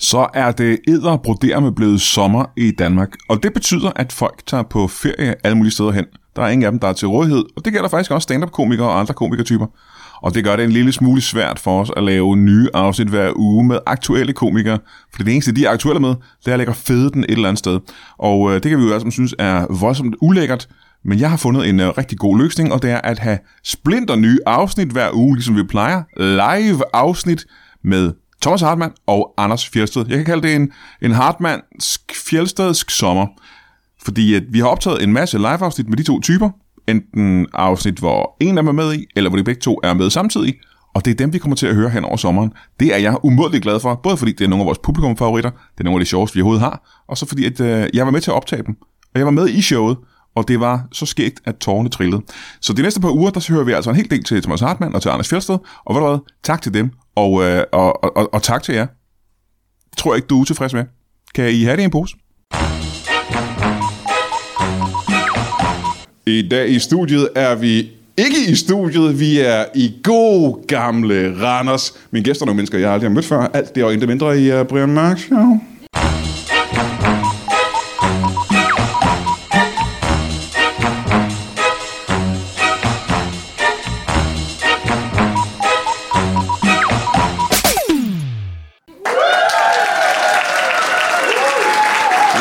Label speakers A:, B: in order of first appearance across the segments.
A: så er det æder med blevet sommer i Danmark. Og det betyder, at folk tager på ferie alle mulige steder hen. Der er ingen af dem, der er til rådighed, og det gælder faktisk også stand-up-komikere og andre komikertyper. Og det gør det en lille smule svært for os at lave nye afsnit hver uge med aktuelle komikere, for det eneste, de er aktuelle med, det er at lægge fede den et eller andet sted. Og øh, det kan vi jo altså synes er voldsomt ulækkert, men jeg har fundet en øh, rigtig god løsning, og det er at have splinter nye afsnit hver uge, ligesom vi plejer. Live afsnit med Thomas Hartmann og Anders Fjeldsted. Jeg kan kalde det en, en Hartmannsk Fjeldstedsk sommer. Fordi at vi har optaget en masse live-afsnit med de to typer. Enten afsnit, hvor en af dem er med i, eller hvor de begge to er med samtidig. Og det er dem, vi kommer til at høre hen over sommeren. Det er jeg umådeligt glad for, både fordi det er nogle af vores publikumfavoritter, det er nogle af de sjoveste, vi overhovedet har, og så fordi at, øh, jeg var med til at optage dem. Og jeg var med i showet, og det var så skægt, at tårerne trillede. Så de næste par uger, der hører vi altså en hel del til Thomas Hartmann og til Anders Fjeldsted. Og ved du hvad, tak til dem, og, øh, og, og, og, og tak til jer. Tror jeg ikke, du er utilfreds med. Kan I have det i en pose? I dag i studiet er vi ikke i studiet, vi er i god gamle Randers. Mine gæster er nogle mennesker, jeg aldrig har mødt før. Alt det og intet mindre i uh, Brian Mørk Show.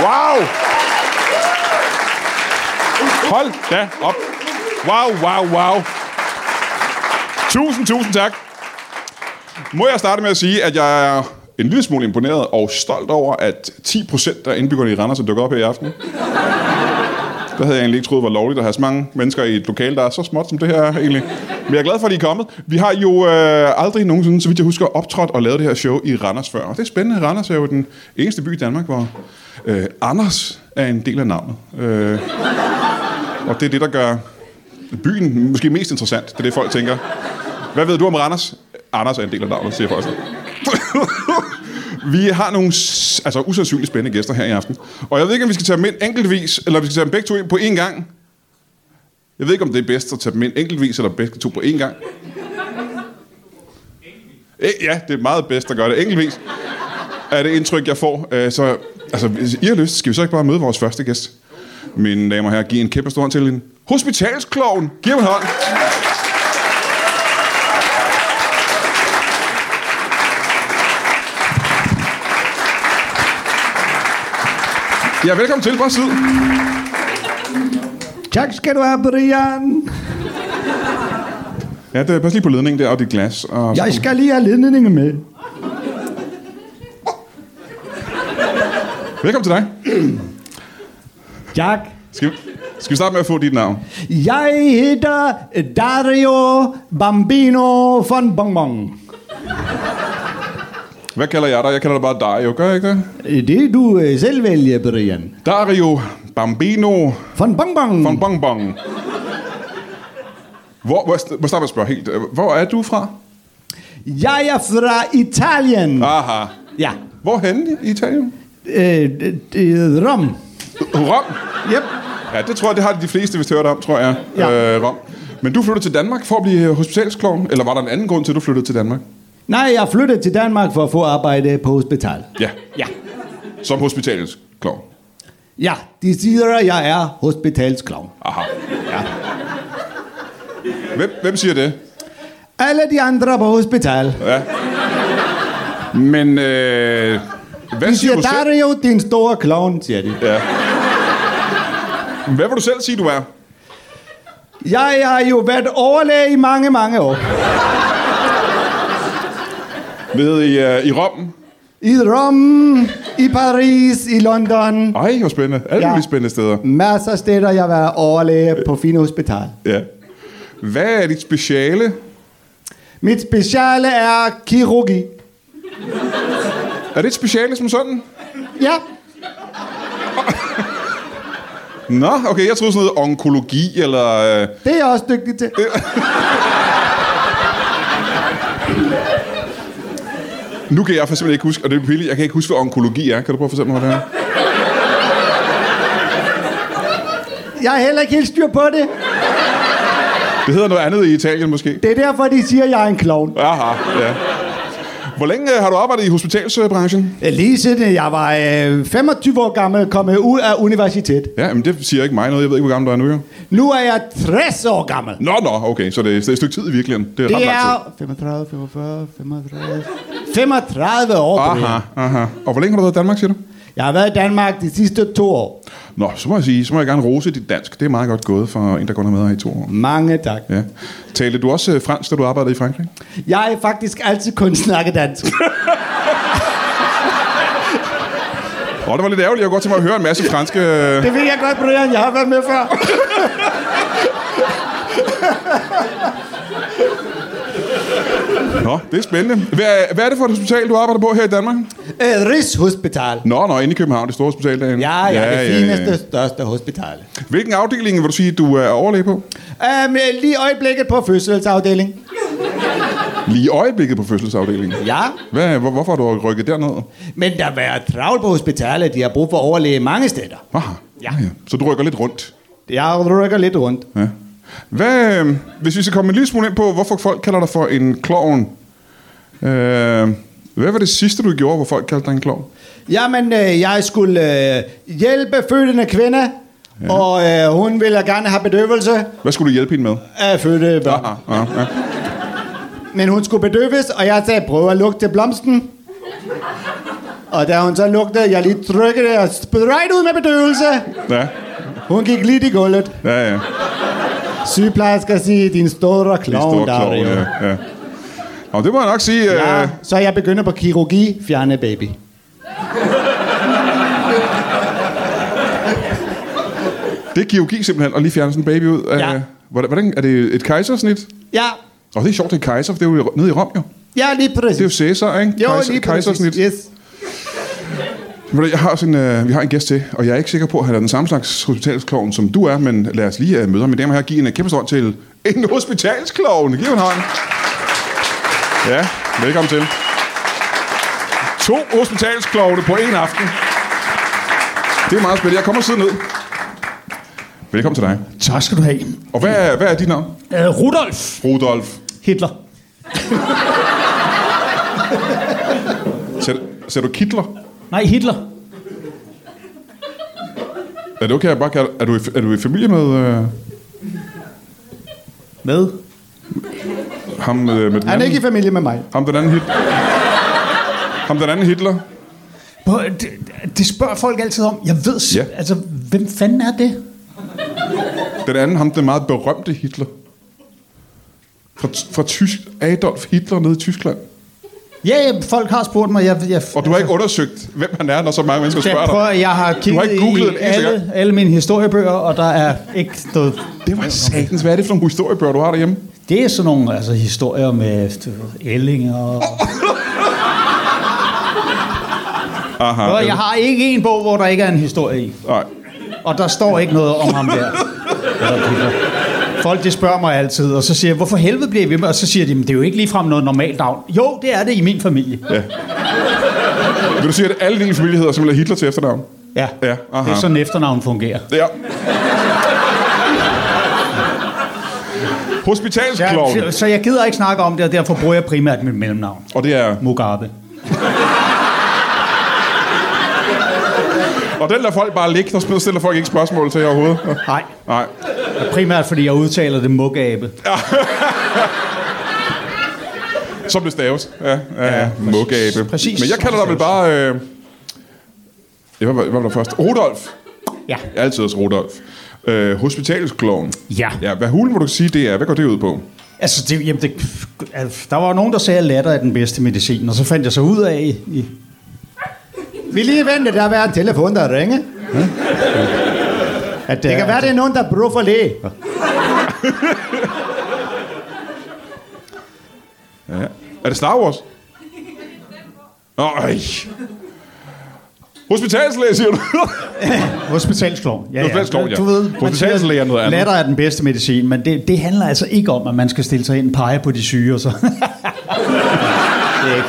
A: Wow! Hold da op. Wow, wow, wow. Tusind, tusind tak. Må jeg starte med at sige, at jeg er en lille smule imponeret og stolt over, at 10% af indbyggerne i Randers er dukket op her i aften. Der havde jeg egentlig ikke troet, var lovligt at have så mange mennesker i et lokal, der er så småt som det her er egentlig. Men jeg er glad for, at I er kommet. Vi har jo øh, aldrig nogensinde, så vidt jeg husker, optrådt og lavet det her show i Randers før. Og det er spændende. Randers er jo den eneste by i Danmark, hvor øh, Anders er en del af navnet. Øh, og det er det, der gør byen måske mest interessant. Det er det, folk tænker. Hvad ved du om Randers? Anders er en del af navnet, siger folk. så. Vi har nogle s- altså, usandsynligt spændende gæster her i aften. Og jeg ved ikke, om vi skal tage dem ind enkeltvis, eller om vi skal tage dem begge to ind på én gang. Jeg ved ikke, om det er bedst at tage dem ind enkeltvis, eller begge to på én gang. Eh, Ja, det er meget bedst at gøre det enkeltvis. Er det indtryk, jeg får. Øh, Så altså, hvis I har lyst, skal vi så ikke bare møde vores første gæst? Mine damer og herrer, giv en kæmpe stor hånd til en hospitalskloven. Giv ham en hånd. Ja, velkommen til. Bare sid.
B: Tak skal du have, Brian.
A: Ja, det, pas lige på ledningen der og dit glas. Og
B: Jeg skal lige have ledningen med.
A: Velkommen til dig.
B: Tak.
A: Skal vi, skal vi starte med at få dit navn?
B: Jeg hedder Dario Bambino von Bonbon.
A: Hvad kalder jeg dig? Jeg kalder dig bare Dario, gør jeg ikke det?
B: Det du øh, selv vælger, Brian.
A: Dario Bambino
B: Von Bonbon.
A: Bong bong bong. Hvor, hvor, hvor starter jeg spørge helt? øh, Hvor er du fra?
B: Jeg er fra Italien.
A: Aha.
B: Ja.
A: Hvor i Italien?
B: Øh, det- det- Rom.
A: Rom.
B: Yep.
A: Ja, det tror jeg, det har de fleste vist hørt om, tror jeg.
B: Ja.
A: Øh, Rom. Men du flyttede til Danmark for at blive hospitalskloven, eller var der en anden grund til, at du flyttede til Danmark?
B: Nej, jeg flyttede til Danmark for at få arbejde på hospital.
A: Ja,
B: Ja.
A: som hospitalskloven.
B: Ja, de siger, at jeg er hospitalsklovn.
A: Aha. Ja. Hvem, hvem siger det?
B: Alle de andre på hospital.
A: Ja. Men øh, hvad siger
B: De siger,
A: du selv?
B: Dario, din store klovn, siger de.
A: Ja. Hvad vil du selv sige, du er?
B: Jeg har jo været overlæge i mange, mange år.
A: Ved i, øh, i Rom,
B: I Rom, i Paris, i London.
A: Ej, hvor spændende. Alle ja.
B: Ja.
A: mulige spændende steder.
B: Masser af steder, jeg har været overlæge på fine hospital.
A: Ja. Hvad er dit speciale?
B: Mit speciale er kirurgi.
A: Er det et speciale som sådan?
B: Ja,
A: Nå, okay, jeg troede sådan noget onkologi, eller... Øh,
B: det er jeg også dygtig til.
A: nu kan jeg for simpelthen ikke huske, og det er pilligt, jeg kan ikke huske, hvad onkologi er. Kan du prøve at fortælle mig, hvad det er?
B: Jeg har heller ikke helt styr på det.
A: Det hedder noget andet i Italien, måske.
B: Det er derfor, de siger, at jeg er en klovn.
A: Aha, ja. Hvor længe øh, har du arbejdet i hospitalsbranchen?
B: Lige siden jeg var øh, 25 år gammel, kom jeg ud af universitet.
A: Ja, men det siger ikke mig noget. Jeg ved ikke, hvor gammel du er nu, jo.
B: Nu er jeg 60 år gammel.
A: Nå, nå, okay. Så det, er- så det er et stykke tid i virkeligheden. Det er ret
B: Det
A: lang tid.
B: er 35, 45, 35, 35 år. Brian.
A: Aha, aha. Og hvor længe har du været i Danmark, siger du?
B: Jeg har været i Danmark de sidste to år.
A: Nå, så må jeg sige, så må jeg gerne rose dit dansk. Det er meget godt gået for en, der kun har været her i to år.
B: Mange tak.
A: Ja. Talte du også øh, fransk, da du arbejdede i Frankrig?
B: Jeg er faktisk altid kun snakket dansk.
A: Åh, det var lidt ærgerligt. Jeg kunne godt tænke mig at høre en masse franske... øh,
B: Det ved jeg godt, Brian. Jeg har været med før.
A: Nå, det er spændende. Hvad, hvad er det for et hospital, du arbejder på her i Danmark?
B: Øh, Rigshospital.
A: Nå, nå, inde i København, det store hospital derinde.
B: Ja, ja, ja, det fineste, største hospital.
A: Hvilken afdeling vil du sige, du er overlæge på?
B: Um, lige i øjeblikket på fødselsafdeling.
A: Lige i øjeblikket på fødselsafdelingen.
B: Ja,
A: Hvad, hvor, hvorfor har du rykket derned?
B: men der er travlt på hospitalet. De har brug for overlæge mange steder.
A: Aha. Ah,
B: Ja.
A: Så du rykker lidt rundt.
B: Jeg rykker lidt rundt.
A: Ja. Hvad, øh, hvis vi skal komme en lille smule ind på, hvorfor folk kalder dig for en klovn? Øh, hvad var det sidste, du gjorde, hvor folk kaldte dig en klovn?
B: Jamen, øh, jeg skulle øh, hjælpe fødende kvinde, ja. og øh, hun ville gerne have bedøvelse
A: Hvad skulle du hjælpe hende med?
B: af fødte børn.
A: Ah, ah, ah.
B: Men hun skulle bedøves, og jeg sagde, prøv at lugte blomsten. Og da hun så lugtede, jeg lige trykkede og spød right ud med bedøvelse.
A: Ja,
B: Hun gik lidt i gulvet.
A: ja, ja.
B: Sygeplejersker siger, din store
A: De store
B: klovn, Dario.
A: klovne, ja. ja. Nå, det må jeg nok sige. Ja.
B: Ja,
A: Øh,
B: så jeg begynder på kirurgi, fjerne baby.
A: det er kirurgi simpelthen, at lige fjerne sådan en baby ud.
B: Ja.
A: Øh, hvordan, hvordan, er det et kejsersnit?
B: Ja,
A: Og det er sjovt, det er kejser, for det er jo nede i Rom, jo.
B: ja lige præcis.
A: Det er jo Cæsar, ikke?
B: jo,
A: Kejser-
B: lige
A: kejsersnit.
B: præcis. Yes.
A: Ved du, Jeg har sådan, øh, vi har en gæst til, og jeg er ikke sikker på, at han er den samme slags hospitalskloven, som du er, men lad os lige øh, møde ham. Mine damer og herrer, giv en øh, kæmpe stor hånd til en hospitalskloven. Giv ham en hånd. Ja, velkommen til. To hospitalsklovne på en aften. Det er meget spændende. Jeg kommer sidde ned. Velkommen til dig.
C: Tak skal du have.
A: Og hvad er, hvad er dit navn?
C: Uh, Rudolf
A: Rudolf.
C: Hitler.
A: Ser, ser du kitler?
C: Nej, Hitler.
A: Er det okay, jeg bare kan, er, du i, er du i familie med øh,
C: Med?
A: ham øh, med den anden?
B: Han er ikke i familie med mig.
A: Ham den anden Hitler. Ham den anden Hitler.
C: Det, det spørger folk altid om. Jeg ved
A: Ja.
C: ja. altså, hvem fanden er det?
A: Den anden, ham den meget berømte Hitler. Fra, fra Tysk, Adolf Hitler nede i Tyskland.
C: Ja, ja, folk har spurgt mig. Jeg, jeg,
A: Og du har ikke undersøgt, hvem han er, når så mange mennesker
C: jeg,
A: spørger dig.
C: prøver, jeg har kigget
A: ikke googlet en
C: i
A: eneste
C: alle,
A: gang.
C: alle mine historiebøger, og der er ikke noget...
A: Det var satans. Hvad er det for nogle historiebøger, du har derhjemme?
C: Det er sådan nogle altså, historier med du ved, ællinger og...
A: Aha.
C: Nå, Jeg har ikke en bog, hvor der ikke er en historie i.
A: Nej.
C: Og der står ikke noget om ham der. Eller Hitler. Folk de spørger mig altid, og så siger jeg, hvorfor helvede bliver I ved med? Og så siger de, "Men det er jo ikke ligefrem noget normalt navn. Jo, det er det i min familie.
A: Ja. Vil du sige, at alle dine familie hedder simpelthen Hitler til efternavn?
C: Ja,
A: Ja, aha.
C: det er sådan efternavn fungerer.
A: Ja. Hospitalsklovn.
C: Ja, så- så jeg gider ikke snakke om det, og derfor bruger jeg primært mit mellemnavn.
A: Og det er...
C: Mugabe.
A: Og den lader folk bare ligge, der stiller folk ikke spørgsmål til jer overhovedet.
C: Nej,
A: Nej.
C: primært fordi jeg udtaler det mugabe.
A: Som det staves. Ja, ja, ja.
C: Ja, præcis.
A: Mugabe.
C: Præcis.
A: Men jeg kalder dig vel bare... Øh... Ja, hvad, var- hvad var der først? Rudolf.
C: Ja.
A: Jeg er altid også Rudolf. Øh, hospitalskloven.
C: Ja.
A: ja. Hvad hulen må du sige, det er? Hvad går det ud på?
C: Altså, det, jamen det, altså, der var nogen, der sagde, at latter er den bedste medicin, og så fandt jeg så ud af... i- I,
B: Vi lige vente, der er en telefon, der ringer.
C: at,
B: Det kan være, det er nogen, der bruger for læge.
A: Er det Star Wars? Øj. Hospitalslæge, siger du?
C: Hospitalskloven. Ja,
A: Hospitalskloven, ja.
C: Du ved,
A: Hospitalslæge er noget andet.
C: Latter er den bedste medicin, men det, det handler altså ikke om, at man skal stille sig ind og pege på de syge og så. det, er ikke,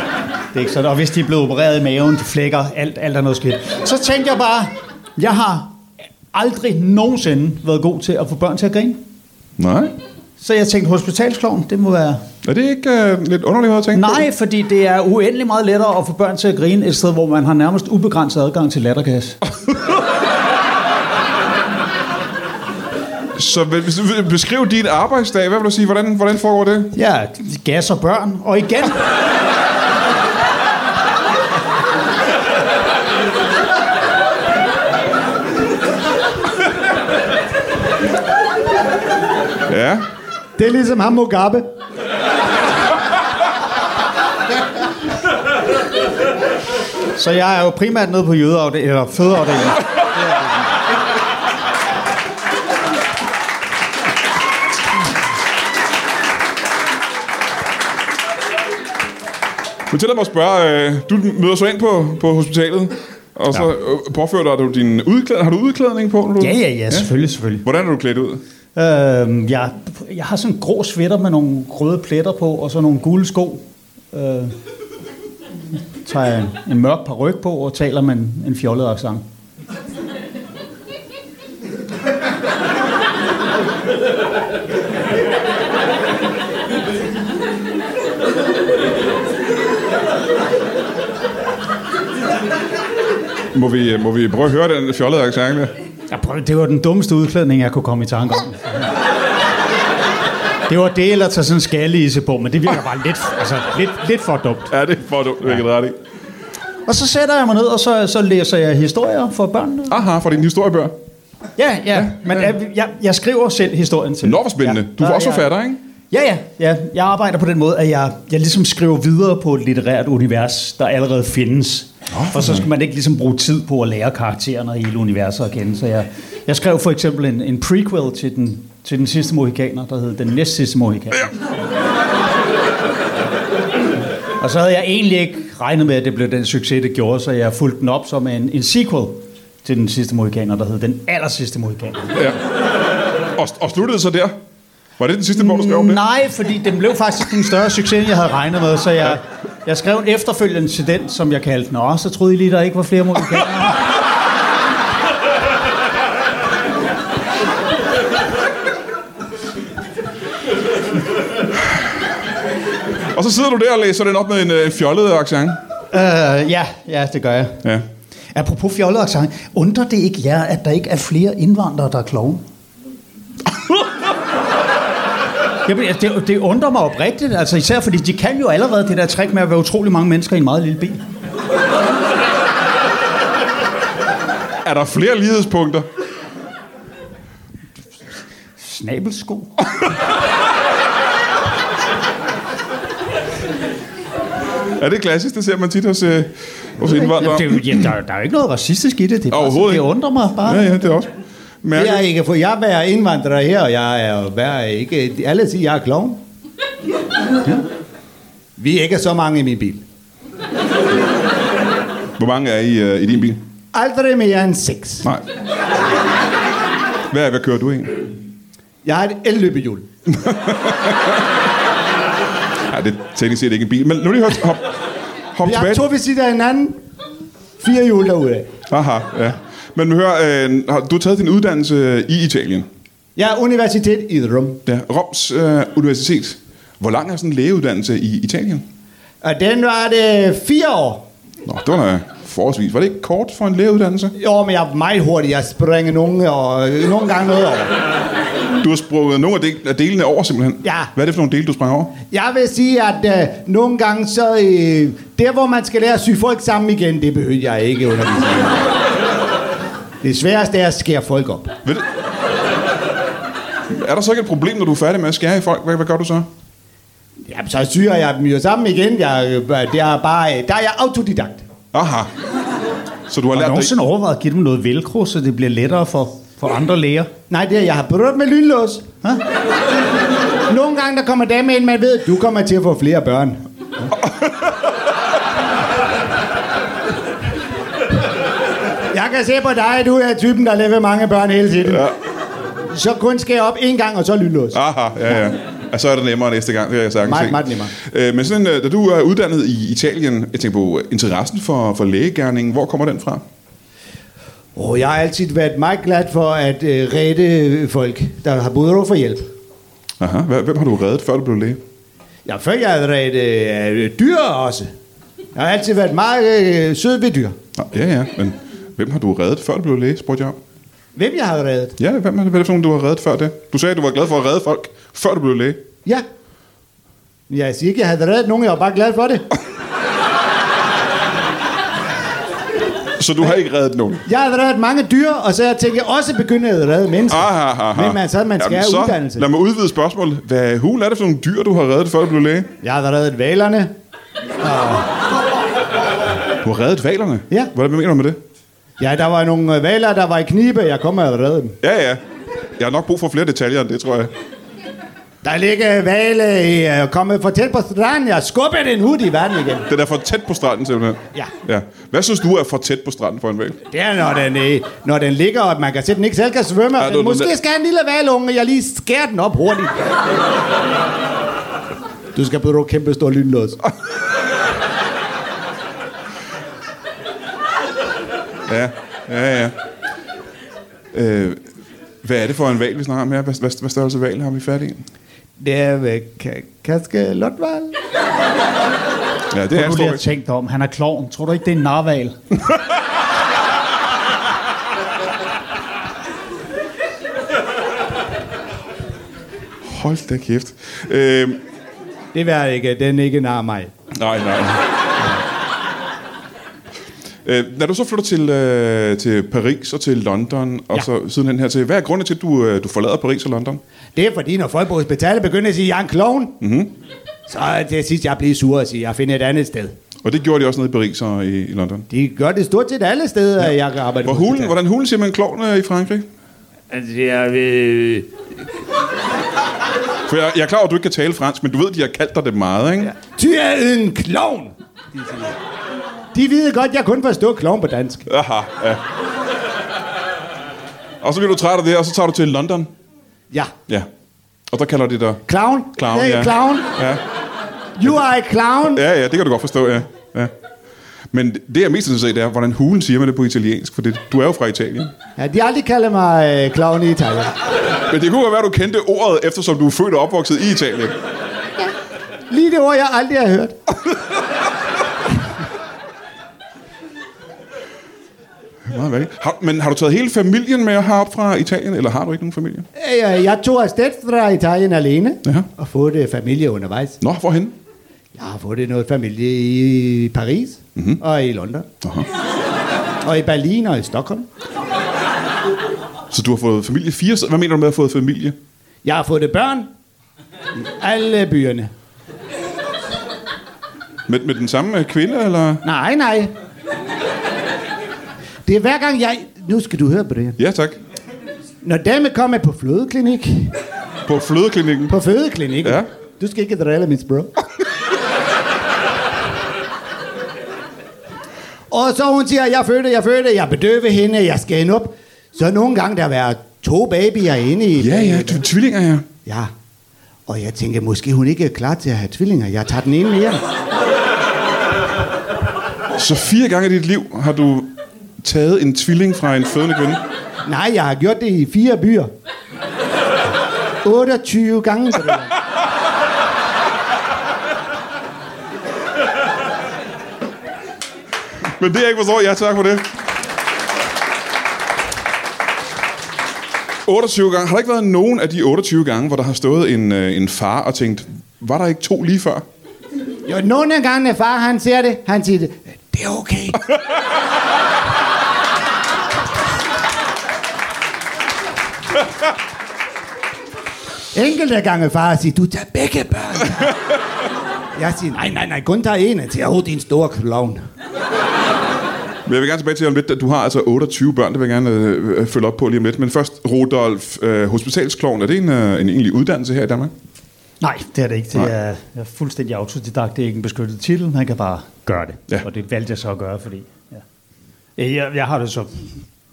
C: det er ikke sådan. Og hvis de er blevet opereret i maven, de flækker, alt, alt er noget skidt. Så tænkte jeg bare, jeg har aldrig nogensinde været god til at få børn til at grine.
A: Nej.
C: Så jeg tænkte, hospitalskloven, det må være...
A: Er det ikke øh, lidt underligt måde at tænke på?
C: Nej, fordi det er uendelig meget lettere at få børn til at grine et sted, hvor man har nærmest ubegrænset adgang til lattergas.
A: Så vil- hvis du vil beskriv din arbejdsdag. Hvad vil du sige? Hvordan, hvordan foregår det?
C: Ja, gas og børn. Og igen...
A: Ja.
B: Det er ligesom ham Mugabe.
C: Så jeg er jo primært nede på jødeafdelingen, eller fødeafdelingen.
A: Men tillad mig at spørge. Øh, du møder så ind på, på hospitalet, og så ja. påfører du dig din udklædning. Har du udklædning på? Når du...
C: Ja, ja, ja, selvfølgelig, selvfølgelig.
A: Hvordan er du klædt ud?
C: Øhm, jeg, jeg har sådan en grå sweater med nogle røde pletter på, og så nogle gule sko. Øh, tager jeg en, en mørk paryk på og taler med en, en fjollet accent.
A: Må vi, øh, må vi prøve at høre den fjollede accent der?
C: Jeg prøv, det var den dummeste udklædning, jeg kunne komme i tanke om. Det var det, eller tage sådan en skallise på, men det virker bare lidt, altså, lidt, lidt for dumt.
A: Ja, det er for dumt. Ja. Ret i.
C: Og så sætter jeg mig ned, og så, så læser jeg historier for børnene.
A: Aha, fra din historiebør.
C: Ja, ja, men jeg, jeg, jeg skriver selv historien til.
A: Nå, hvor spændende. Du er
C: Der-
A: også
C: jeg-
A: forfatter, ikke?
C: Ja, ja, ja. Jeg arbejder på den måde, at jeg, jeg ligesom skriver videre på et litterært univers, der allerede findes. For så skal man ikke ligesom bruge tid på at lære karaktererne og hele universet at kende. Så jeg, jeg skrev for eksempel en, en prequel til den, til den sidste mohikaner, der hed Den næst sidste mohikaner. Og så havde jeg egentlig ikke regnet med, at det blev den succes, det gjorde, så jeg fulgte den op som en, en sequel til Den sidste mohikaner, der hed Den aller sidste mohikaner.
A: Ja. Og, og sluttede så der? Var det den sidste bog, du skrev om det?
C: Nej, fordi den blev faktisk en større succes, end jeg havde regnet med, så jeg, jeg skrev en efterfølgende til den, som jeg kaldte den. Nå, så troede I lige, der ikke var flere mohikaner.
A: Og så sidder du der og læser den op med en, øh, en fjollet accent.
C: øh, ja, ja, det gør jeg.
A: Ja.
C: Apropos fjollet accent, undrer det ikke jer, at der ikke er flere indvandrere, der er kloven? Jamen, altså, det, det undrer mig oprigtigt, altså især fordi de kan jo allerede det der trick med at være utrolig mange mennesker i en meget lille bil.
A: Er der flere lighedspunkter?
C: Snabelsko.
A: Er det klassisk? Det ser man tit hos, øh, hos indvandrere.
C: Jamen, det, er jo- ja, der, der er jo ikke noget racistisk i det. Det, er bare,
A: Overhovedet
C: sådan, det
A: ikke.
C: undrer mig bare.
A: Ja, ja, det er også.
B: Det er
A: Mærke.
B: ikke, for jeg er indvandrer her, og jeg er, hvad er ikke... Alle siger, jeg er klovn. Vi er ikke så mange i min bil.
A: Hvor mange er I øh, i din bil?
B: Aldrig mere end seks.
A: Nej. Hvad, hvad kører du i?
B: Jeg har et elløbehjul.
A: Nej, det er teknisk set ikke en bil. Men nu lige hop, hop, hop
B: Vi har
A: tilbage.
B: to ved siden af hinanden. Fire hjul derude. af.
A: Aha, ja. Men hør, øh, har du taget din uddannelse øh, i Italien?
B: Jeg er universitet i Rom.
A: Ja, Roms øh, Universitet. Hvor lang er sådan en lægeuddannelse i Italien?
B: Og den var det fire år.
A: Nå, det var da forholdsvis. Var det ikke kort for en lægeuddannelse?
B: Jo, men jeg er meget hurtig. Jeg springer nogle, og øh, nogle gange noget over.
A: Du har sprunget nogle af del- af delene over simpelthen.
B: Ja.
A: Hvad er det for nogle dele, du sprang over?
B: Jeg vil sige, at øh, nogle gange så... Øh, der, hvor man skal lære at sy folk sammen igen, det behøver jeg ikke undervise. i. Det sværeste er at skære folk op.
A: Ved du? Er der så ikke et problem, når du er færdig med at skære i folk? Hvad, hvad gør du så?
B: Jamen, så syrer jeg dem jo sammen igen. Jeg, øh, det er bare, øh, der er jeg autodidakt.
A: Aha. Så du har
C: Har du
A: lært dig...
C: nogensinde overvejet at give dem noget velcro, så det bliver lettere for, for andre læger?
B: Nej, det er, jeg har brudt med lynlås. Hå? Nogle gange, der kommer dame ind, man ved, du kommer til at få flere børn. Jeg kan se på dig, at du er typen, der lever mange børn hele tiden. Ja. Så kun skal jeg op en gang, og så lynlås.
A: Aha, ja, ja. Og så er det nemmere næste gang, det har jeg sagtens
B: Meget,
A: se.
B: meget nemmere.
A: Øh, men sådan, øh, da du er uddannet i Italien, jeg tænker på øh, interessen for, for lægegærningen, hvor kommer den fra?
B: Og jeg har altid været meget glad for at øh, rette folk, der har brug for hjælp.
A: Aha. Hva- Hvem har du reddet, før du blev læge?
B: Ja, før jeg havde ret øh, dyr også. Jeg har altid været meget øh, sød ved dyr.
A: Nå, ja, ja, men hvem har du reddet, før du blev læge, spurgte jeg om.
B: Hvem jeg har reddet?
A: Ja, hvem er det, hvad er det for nogen, du har reddet før det? Du sagde, at du var glad for at redde folk, før du blev læge.
B: Ja. Jeg siger ikke, jeg havde reddet nogen. Jeg var bare glad for det.
A: Så du har ikke reddet nogen?
B: Jeg havde reddet mange dyr, og så jeg tænkte, jeg også begynde at redde mennesker.
A: Aha, aha, aha.
B: Men man, så man skal
A: Jamen,
B: have
A: så
B: uddannelse.
A: Lad mig udvide spørgsmålet. Hvad hul er det for nogle dyr, du har reddet, før du blev læge?
B: Jeg havde reddet valerne.
A: Du har reddet valerne?
B: Ja.
A: Hvad mener du med det?
B: Ja, der var nogle øh, valer, der var i knibe. Jeg kom og havde reddet dem.
A: Ja, ja. Jeg har nok brug for flere detaljer end det, tror jeg.
B: Der ligger vale i øh, kommet for tæt på stranden. Jeg skubbede den hud i vandet igen.
A: Den er for tæt på stranden, simpelthen.
B: Ja.
A: ja. Hvad synes du er for tæt på stranden for en valg?
B: Det er, når den, øh, når den ligger, og man kan se, at den ikke selv kan svømme.
A: Ja,
B: Ja,
A: du- du-
B: men måske skal en lille valunge, jeg lige skærer den op hurtigt. Du skal bruge kæmpe stor lynlås.
A: Ja, ja, ja. Øh, hvad er det for en valg, vi snakker om her? Hvad, hvad, hvad størrelse valg har vi fat i?
B: Det er ved Ka- Kaske Lotval.
A: Ja, det er en stor
C: Du lige har
A: hval.
C: tænkt dig om, han er klovn. Tror du ikke, det er en narval?
A: Hold da kæft. Øh,
B: Det var ikke, den ikke nar mig.
A: nej, nej. Øh, når du så flytter til, øh, til Paris og til London, og
B: Ja.
A: så sidenhen her til, hvad er grunden til, at du, øh, du forlader Paris og London?
B: Det er fordi, når folk på hospitalet begynder at sige, at jeg er en klovn, mm-hmm.
A: Mhm.
B: så er det til sidst, jeg bliver sur og siger, at jeg finder et andet sted.
A: Og det gjorde de også nede i Paris og i, i London.
B: De gør det stort set alle steder, ja. jeg arbejder
A: Hvor
B: på
A: hulen,
B: hospitalet.
A: hvordan hulen siger man klovn øh, i Frankrig?
B: Altså, jeg vil...
A: For jeg, jeg er klar over, at du ikke kan tale fransk, men du ved, de har kaldt dig det meget, ikke? Ja.
B: Ty er en klovn! de siger. De ved godt, jeg kun forstår klovn på dansk.
A: Aha, ja. Og så bliver du træt af det, og så tager du til London.
B: Ja.
A: Ja. Og der kalder de dig...
B: Clown?
A: Clown,
B: hey,
A: ja.
B: clown.
A: Ja.
B: You are a clown.
A: ja, ja, det kan du godt forstå, ja. ja. Men det, jeg er mest interesseret i, det er, hvordan hulen siger man det på italiensk, for det, du er jo fra Italien.
B: Ja, de har aldrig kaldet mig øh, clown i Italien.
A: Men det kunne godt være, du kendte ordet, eftersom du er født og opvokset i Italien.
B: Lige det ord, jeg aldrig har hørt.
A: Meget valgt. Har, men har du taget hele familien med herop fra Italien, eller har du ikke nogen familie?
B: Øh, Jeg tog afsted fra Italien alene
A: Ja.
B: og fået øh, familie undervejs.
A: Nå, hvorhen?
B: Jeg har fået noget familie i Paris mm-hmm. og i London
A: Aha.
B: og i Berlin og i Stockholm.
A: Så du har fået familie fire steder? Hvad mener du med at have fået familie?
B: Jeg har fået børn i alle byerne.
A: Med, med den samme øh, kvinde, eller?
B: Nej, nej. Det er hver gang jeg... Nu skal du høre, Brian.
A: Ja, tak.
B: Når dame kommer på flødeklinik,
A: På flødeklinikken.
B: på fødeklinik,
A: Ja.
B: ja. du skal ikke drille, min bro. og så hun siger, jeg fødte, jeg fødte, jeg bedøver hende, jeg skal hende op. Så nogle gange, der været to babyer inde i...
A: Ja, ja, du er tvillinger, ja.
B: Ja. Og jeg tænker, måske hun ikke er klar til at have tvillinger. Jeg tager den ene mere.
A: Så fire gange i dit liv har du taget en tvilling fra en fødende kvinde.
B: Nej, jeg har gjort det i fire byer. 28 gange. Brian.
A: Men det er jeg ikke forstår. Ja, tak for det. 28 gange. Har der ikke været nogen af de 28 gange, hvor der har stået en, øh, en far og tænkt, var der ikke to lige før?
B: Jo, nogle af gangene far, han ser det, han siger det, det er okay. Enkelte gange far siger, du tager begge børn. Jeg siger, nej, nej, nej, kun tager en. Han siger, åh, din store klovn.
A: Men jeg vil gerne tilbage til om lidt, at du har altså 28 børn, det vil jeg gerne øh, øh, følge op på lige om lidt. Men først, Rudolf, øh, hospitalskloven, er det en, øh, en egentlig uddannelse her i Danmark?
C: Nej, det er det ikke.
A: Nej.
C: Det er, jeg er fuldstændig autodidakt. Det er ikke en beskyttet titel. Han kan bare gøre det.
A: Ja.
C: Og det valgte jeg så at gøre, fordi... Ja. Øh, Jeg, jeg har det så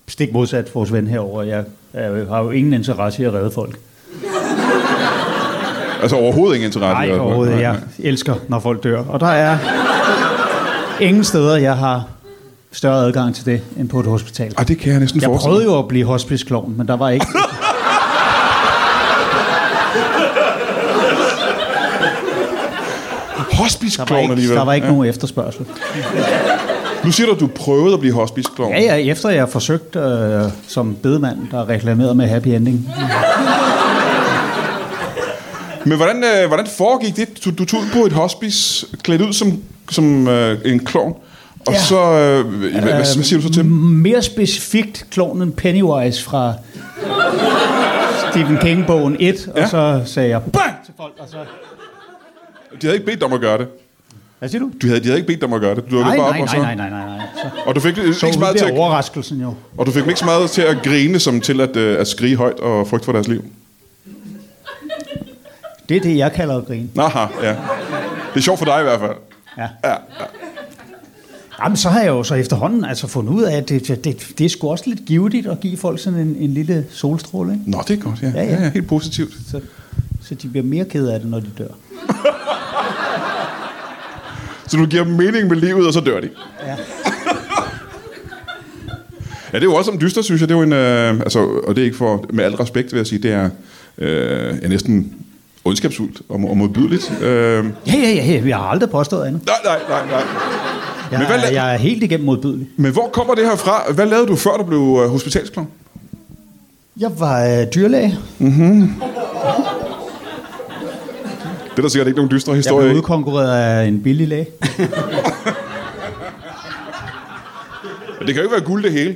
C: stik modsat vores ven herover. Jeg, jeg har jo ingen interesse i at redde folk.
A: Altså overhovedet ingen interesse? i
C: Nej,
A: det.
C: overhovedet. Jeg elsker, når folk dør. Og der er ingen steder, jeg har større adgang til det, end på et hospital.
A: Ej, det kan jeg næsten
C: Jeg
A: forestille
C: prøvede jo at blive hospice men der var ikke...
A: hospice
C: Der var, ikke,
A: alligevel.
C: der var ikke
A: ja.
C: ja. nogen efterspørgsel.
A: Nu siger du, at du prøvede at blive hospice
C: Ja, ja, efter jeg forsøgte øh, som bedemand, der reklamerede med happy ending.
A: Men hvordan, øh, hvordan foregik det? Du, du tog ud på et hospice, klædt ud som, som øh, en klovn, og ja.
C: Ja. Øhm,
A: så... Øh,
C: mm.
A: hvad, hvad, hvad siger du så til dem?
C: Mere specifikt klonen Pennywise fra Stephen King-bogen 1, ja.
A: Ja.
C: og så sagde jeg BANG! til folk, og så...
A: De havde ikke bedt dig om at gøre det.
C: Hvad siger du?
A: Du havde, de havde ikke bedt dig om at gøre det. Du dukkede
C: Nej,
A: bare op,
C: nej,
A: og så...
C: nej, nej, nej, nej, nej. Så,
A: Og du fik, ikke
C: så
A: så meget til
C: bliver
A: at,
C: overraskelsen jo.
A: og du fik dem ikke så meget til at grine, som til at, øh, at skrige højt og frygte for deres liv.
C: Det er det, jeg kalder at grine.
A: Aha, ja. Det er sjovt for dig i hvert fald.
C: Ja.
A: Ja,
C: Jamen, så har jeg jo så efterhånden altså fundet ud af, at det, det, det, det er sgu også lidt givetigt at give folk sådan en, en lille solstråle, ikke?
A: Nå, det er godt, ja.
C: Ja, ja.
A: ja, ja helt positivt.
C: Så, så de bliver mere kede af det, når de dør.
A: Så du giver dem mening med livet, og så dør de.
C: Ja.
A: Ja, det er jo også som dyster, synes jeg. Det er jo en, øh, altså, og det er ikke for, med al respekt, vil jeg sige, det er øh, ja, næsten ondskabsfuldt og, og modbydeligt. Øh,
C: Ja, ja, ja, ja, jeg har aldrig påstået andet.
A: nej, nej, nej, nej.
C: Jeg,
A: Men hvad la-
C: jeg er helt igennem modbydelig.
A: Men hvor kommer det her fra? Hvad lavede du, før du blev øh, hospitalsklovn?
C: Jeg var øh, dyrlæge.
A: Det er der sikkert ikke nogen dystre
C: Jeg
A: historie.
C: blev
A: i.
C: udkonkurreret af en billig læge.
A: Det kan jo ikke være guld det hele.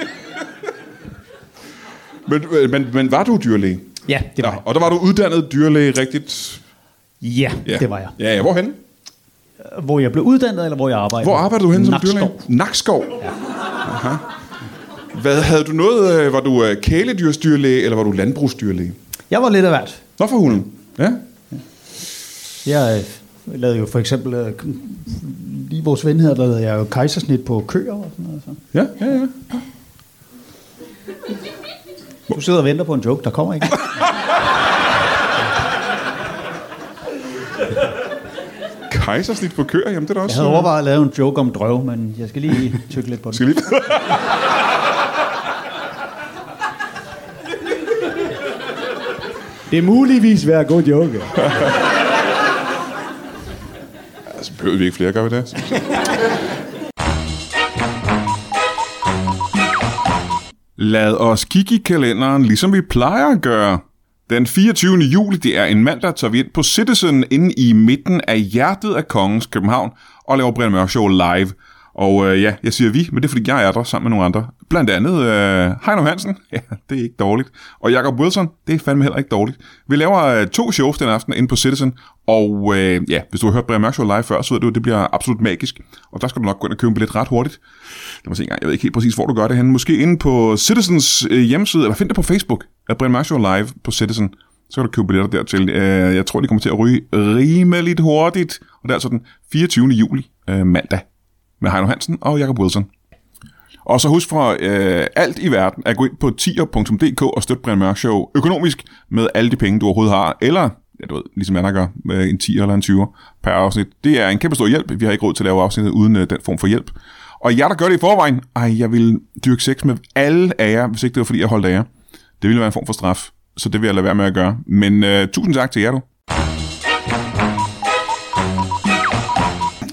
A: men, øh, men, men var du dyrlæge?
C: Ja, det var
A: Nå,
C: jeg.
A: og der var du uddannet dyrlæge rigtigt?
C: Ja, ja, det var jeg.
A: Ja, ja. Hvorhen?
C: Hvor jeg blev uddannet, eller hvor jeg arbejdede.
A: Hvor arbejdede du hen som
C: Nakskov.
A: dyrlæge? Nakskov. Ja. Aha. Hvad havde du noget? øh, Var du øh, kæledyrsdyrlæge, eller var du landbrugsdyrlæge?
C: Jeg var lidt af hvert.
A: Nå for hulen. Ja.
C: Jeg øh, lavede jo for eksempel... Øh, lige vores ven her, der lavede jeg jo kejsersnit på køer og sådan noget. Så.
A: Ja, ja, ja.
C: Du sidder og venter på en joke, der kommer ikke.
A: Kejsersnit på køer, jamen det er da
C: Jeg
A: også...
C: havde
A: øh,
C: overvejet at lave en joke om drøv, men jeg skal lige tykke lidt på den.
A: Skal lige...
B: Det er muligvis være god joke.
A: altså, behøver vi ikke flere, gør vi det? Lad os kigge i kalenderen, ligesom vi plejer at gøre. Den 24. juli, det er en mandag, tager vi ind på Citizen inde i midten af hjertet af Kongens København og laver Brian Mørk Show live. Og øh, ja, jeg siger vi, men det er fordi, jeg er der sammen med nogle andre. Blandt andet øh, Heino Hansen, ja, det er ikke dårligt. Og Jacob Wilson, det er fandme heller ikke dårligt. Vi laver øh, to shows den aften inde på Citizen, og øh, ja, hvis du har hørt Brian Mørk Show live før, så ved du, at det bliver absolut magisk. Og der skal du nok gå ind og købe en billet ret hurtigt. Lad mig se engang. Jeg ved ikke helt præcis, hvor du gør det henne. Måske inde på Citizens øh, hjemmeside, eller find det på Facebook. At Brian Mørk Show Live på Citizen. Så kan du købe billetter dertil. Øh, jeg tror, de kommer til at ryge rimeligt hurtigt. Og det er altså den 24. juli, øh, mandag. Med Heino Hansen og Jacob Wilson. Og så husk fra øh, alt i verden at gå ind på tier.dk og støtte Brian Mørk Show økonomisk med alle de penge, du overhovedet har. Eller, ja, du ved, ligesom andre gør, med en 10 eller en 20 per afsnit. Det er en kæmpe stor hjælp. Vi har ikke råd til at lave afsnittet uden øh, den form for hjælp. Og jer, der gør det i forvejen, ej, jeg vil dyrke sex med alle af jer, hvis ikke det var fordi, jeg holdt af jer. Det ville være en form for straf, så det vil jeg lade være med at gøre. Men øh, tusind tak til jer, du.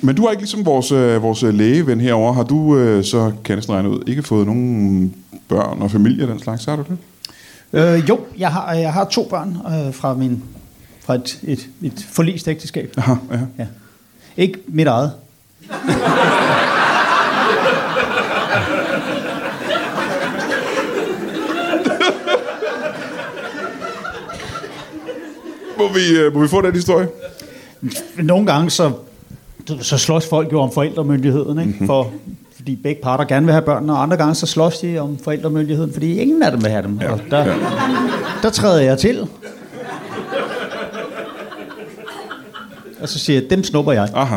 A: Men du har ikke ligesom vores, øh, vores øh, lægeven herover, har du, øh, så kan jeg næsten regne ud, ikke fået nogen børn og familie og den slags, har du det?
C: Øh, jo, jeg har, jeg har to børn øh, fra, min, fra et, et, et forlist ægteskab.
A: Aha, ja.
C: Ja. Ikke mit eget.
A: Må vi, øh, må vi få den historie?
C: Nogle gange så, så slås folk jo om forældremyndigheden,
A: Mhm.
C: ikke? Mm-hmm. For, fordi begge parter gerne vil have børn, og andre gange så slås de om forældremyndigheden, fordi ingen af dem vil have dem. Ja. Og der,
A: ja.
C: ja. der træder jeg til. Og så siger jeg, dem snupper jeg.
A: Aha.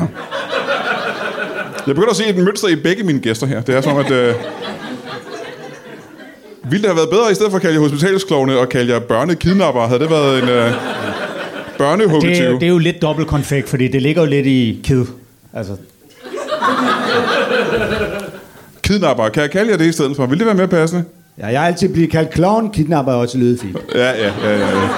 A: Jeg begynder at se et mønster i begge mine gæster her. Det er som, at... Øh, ville det have været bedre, i stedet for at kalde jer hospitalsklovne og kalde jer børnekidnapper? Havde det været en øh,
C: Det, er-
A: børnehuggetyve?
C: det er jo lidt dobbelt konfekt, fordi det ligger jo lidt i kid. Altså,
A: Kidnapper, kan jeg kalde jer det i stedet for? Vil det være mere passende?
B: Ja, jeg er altid blevet kaldt clown, kidnapper er også lyde fint.
A: Ja, ja, ja, ja. ja.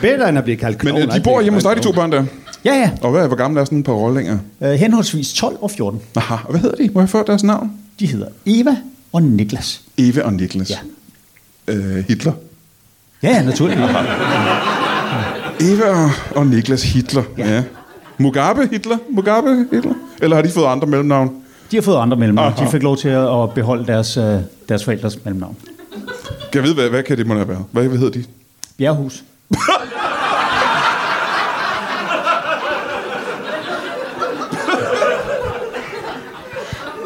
B: Bedre end at blive kaldt
A: Men
B: klovn.
A: øh, de bor hjemme hos dig, de to børn der.
C: Ja, ja.
A: Og hvad, hvor gamle er sådan et par rollinger?
C: Øh, henholdsvis 12 og 14.
A: Aha, og hvad hedder de? Må jeg få deres navn?
C: De hedder Eva og Niklas.
A: Eva og Niklas.
C: Ja.
A: Øh, Hitler.
C: Ja, ja, naturligvis.
A: Eva og- og Niklas Hitler. Ja. ja. Mugabe Hitler? Mugabe Hitler? Eller har de fået andre mellemnavn?
C: De har fået andre mellemnavn.
A: Aha.
C: De fik lov til at at beholde deres, øh, deres forældres mellemnavn.
A: Kan jeg vide, hvad, hvad kan det må have været? Hvad, hvad hedder de?
C: Bjerghus.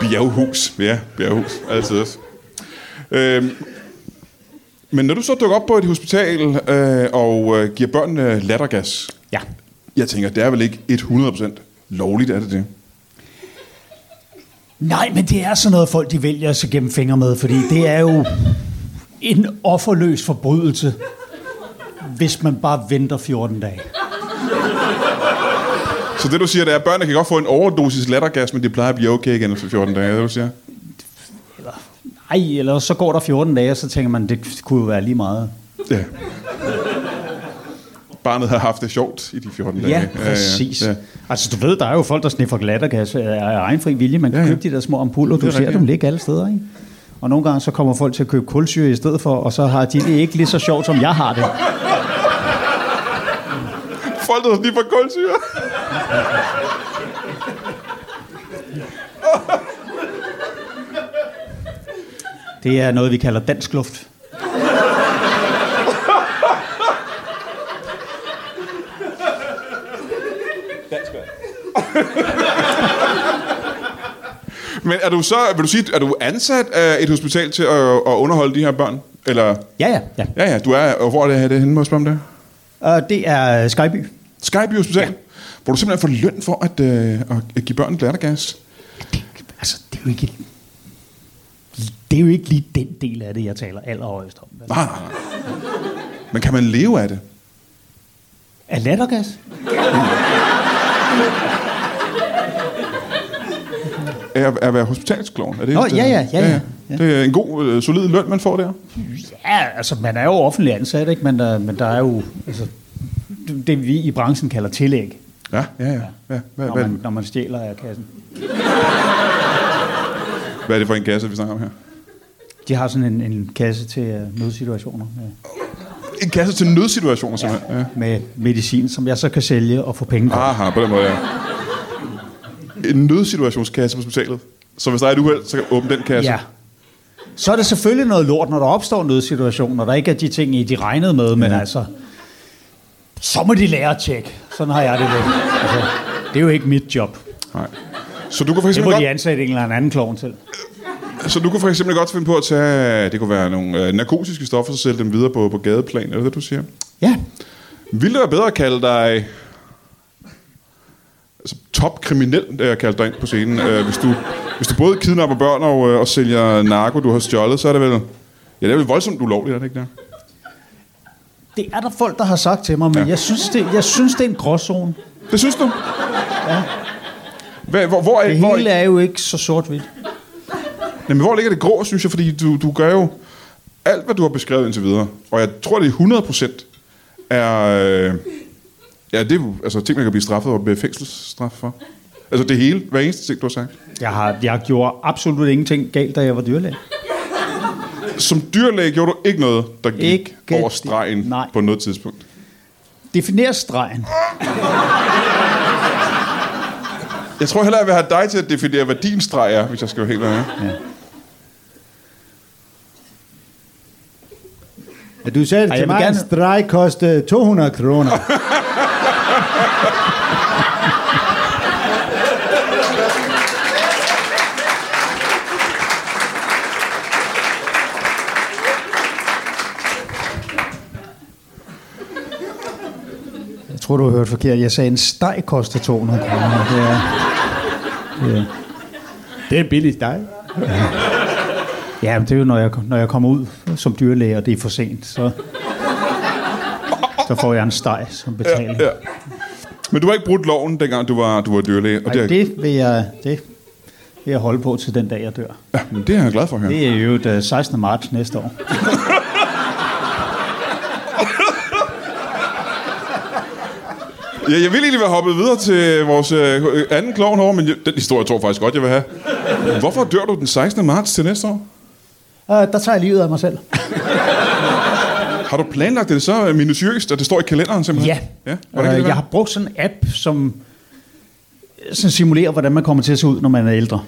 A: Bjerghus. Ja, Bjerghus. Altid også. Øhm, men når du så dukker op på et hospital øh, og øh, giver børnene lattergas,
C: Ja.
A: jeg tænker, det er vel ikke 100% lovligt, er det det?
C: Nej, men det er sådan noget, folk de vælger at se gennem fingre med, fordi det er jo en offerløs forbrydelse, hvis man bare venter 14 dage.
A: Så det du siger, det er, at børnene kan godt få en overdosis lattergas, men det plejer at blive okay igen efter 14 dage, er det du siger?
C: Ej, eller så går der 14 dage, og så tænker man, det kunne jo være lige meget.
A: Ja. Barnet har haft det sjovt i de 14 dage.
C: Ja, præcis. Ja, ja, Altså, du ved, der er jo folk, der sniffer glattergas af af egen fri vilje. Man kan
A: Ja,
C: ja,
A: ja.
C: købe de der små ampuller,
A: er
C: du ser
A: rigtigt.
C: dem ligge alle steder, ikke? Og nogle gange så kommer folk til at købe kulsyre i stedet for, og så har de det ikke lige så sjovt, som jeg har det.
A: Folk, der lige får kulsyre.
C: Det er noget, vi kalder dansk luft.
A: Men er du så, vil du sige, er du ansat af et hospital til at, at underholde de her børn? Eller,
C: Ja, ja, ja.
A: ja ja, du er, og hvor er det her, det er henne, må jeg spørge om det?
C: Og det er Skyby.
A: Skyby Hospital? Ja. Hvor du simpelthen får løn for at, øh, at give børn lattergas?
C: Altså, det er jo ikke... Det er jo ikke lige den del af det, jeg taler allerhøjst om.
A: Nej, nej, nej. Men kan man leve af det?
C: Er lattergas?
A: Af at, at være hospitalskloven? Er det
C: Nå,
A: et, øh,
C: ja, ja, ja, ja. Ja.
A: Det er en god, øh, solid løn, man får der.
C: Ja, altså man er jo offentlig ansat, ikke? Men, der, men der er jo altså, det, det, vi i branchen kalder tillæg,
A: Ja, ja, ja. ja. Hvad,
C: når
A: hvad,
C: man, når man stjæler af kassen.
A: hvad er det for en kasse, vi snakker om her?
C: De har sådan en, en kasse til uh, nødsituationer med,
A: En kasse til nødsituationer, simpelthen. Ja.
C: med medicin, som jeg så kan sælge og få penge for.
A: Aha, på den måde, ja. En nødsituationskasse på hospitalet. Så hvis der er et uheld, så kan jeg åbne den kasse.
C: Ja. Så er det selvfølgelig noget lort, når der opstår nødsituationer, der ikke er de ting, I de regnede med, men altså, så må de lære at tjekke. Sådan har jeg det lidt. Altså, det er jo ikke mit job.
A: Nej. Så du, kunne for
C: Det
A: eksempel
C: må de
A: godt,
C: ansætte en eller anden klovn til.
A: så du kunne for eksempel godt finde på at tage, det kunne være nogle øh, narkotiske stoffer, så sælge dem videre på, på gadeplan, er det det, du siger?
C: Ja,
A: Ville det være bedre at kalde dig altså, topkriminel, da jeg kaldte dig ind på scenen? Øh, hvis, du, hvis du både kidnapper børn og, øh, og sælger narko, du har stjålet, så er det vel... Ja, det er vel voldsomt ulovligt, er det ikke det?
C: det er der folk, der har sagt til mig, men
A: Ja.
C: ja. jeg, synes, det, jeg synes, det er en gråzone.
A: Det synes du? Ja. Hvad, hvor, hvor, er,
C: Det
A: hvor,
C: hele er jo ikke så sort-hvidt.
A: jamen, hvor ligger det grå, synes jeg? Fordi du, du gør jo alt, hvad du har beskrevet indtil videre. Og jeg tror, det er 100 procent er... Øh, ja, det er jo altså, ting, man kan blive straffet og med fængselsstraf for. Altså det hele, hver eneste ting, du har sagt.
C: Jeg, har, jeg gjorde absolut ingenting galt, da jeg var dyrlæge.
A: Som dyrlæge gjorde du ikke noget, der gik ikke
C: Ikke
A: over
C: det.
A: stregen
C: Nej.
A: på noget tidspunkt.
C: Definer stregen.
A: Jeg tror heller, jeg vil have dig til at definere, hvad din streg er, hvis jeg skal være helt ærlig.
B: Ja, Du sagde det
C: Ej,
B: til
C: jeg vil
B: mig, gerne... en
C: gerne-
B: streg kostede 200 kroner.
C: Jeg tror, du har hørt forkert. Jeg sagde, en steg koster 200 kroner. Det er, det er.
B: det er en billig streg.
C: Ja, men det er jo, når jeg, når jeg kommer ud som dyrlæge, og det er for sent, så, så får jeg en steg som betaling.
A: Ja. Men du har ikke brudt loven, dengang du var, du var dyrlæge. Og
C: Ej,
A: det, er,
C: det, vil jeg, det vil jeg holde på til den dag, jeg dør.
A: ja, men det er jeg glad for at høre.
C: Det er jo den 16. marts næste år.
A: Ja, jeg ville egentlig være hoppet videre til vores øh, øh, anden klovn over, men jeg, den historie tror jeg faktisk godt, jeg vil have. Hvorfor dør du den 16. marts til næste år?
C: Øh, der tager jeg livet af mig selv.
A: Har du planlagt det så minutiøst, at det står i kalenderen simpelthen?
C: Ja.
A: ja? Hvordan kan
C: Øh,
A: det
C: jeg
A: være?
C: har brugt sådan en app, som, som simulerer, hvordan man kommer til at se ud, når man er ældre.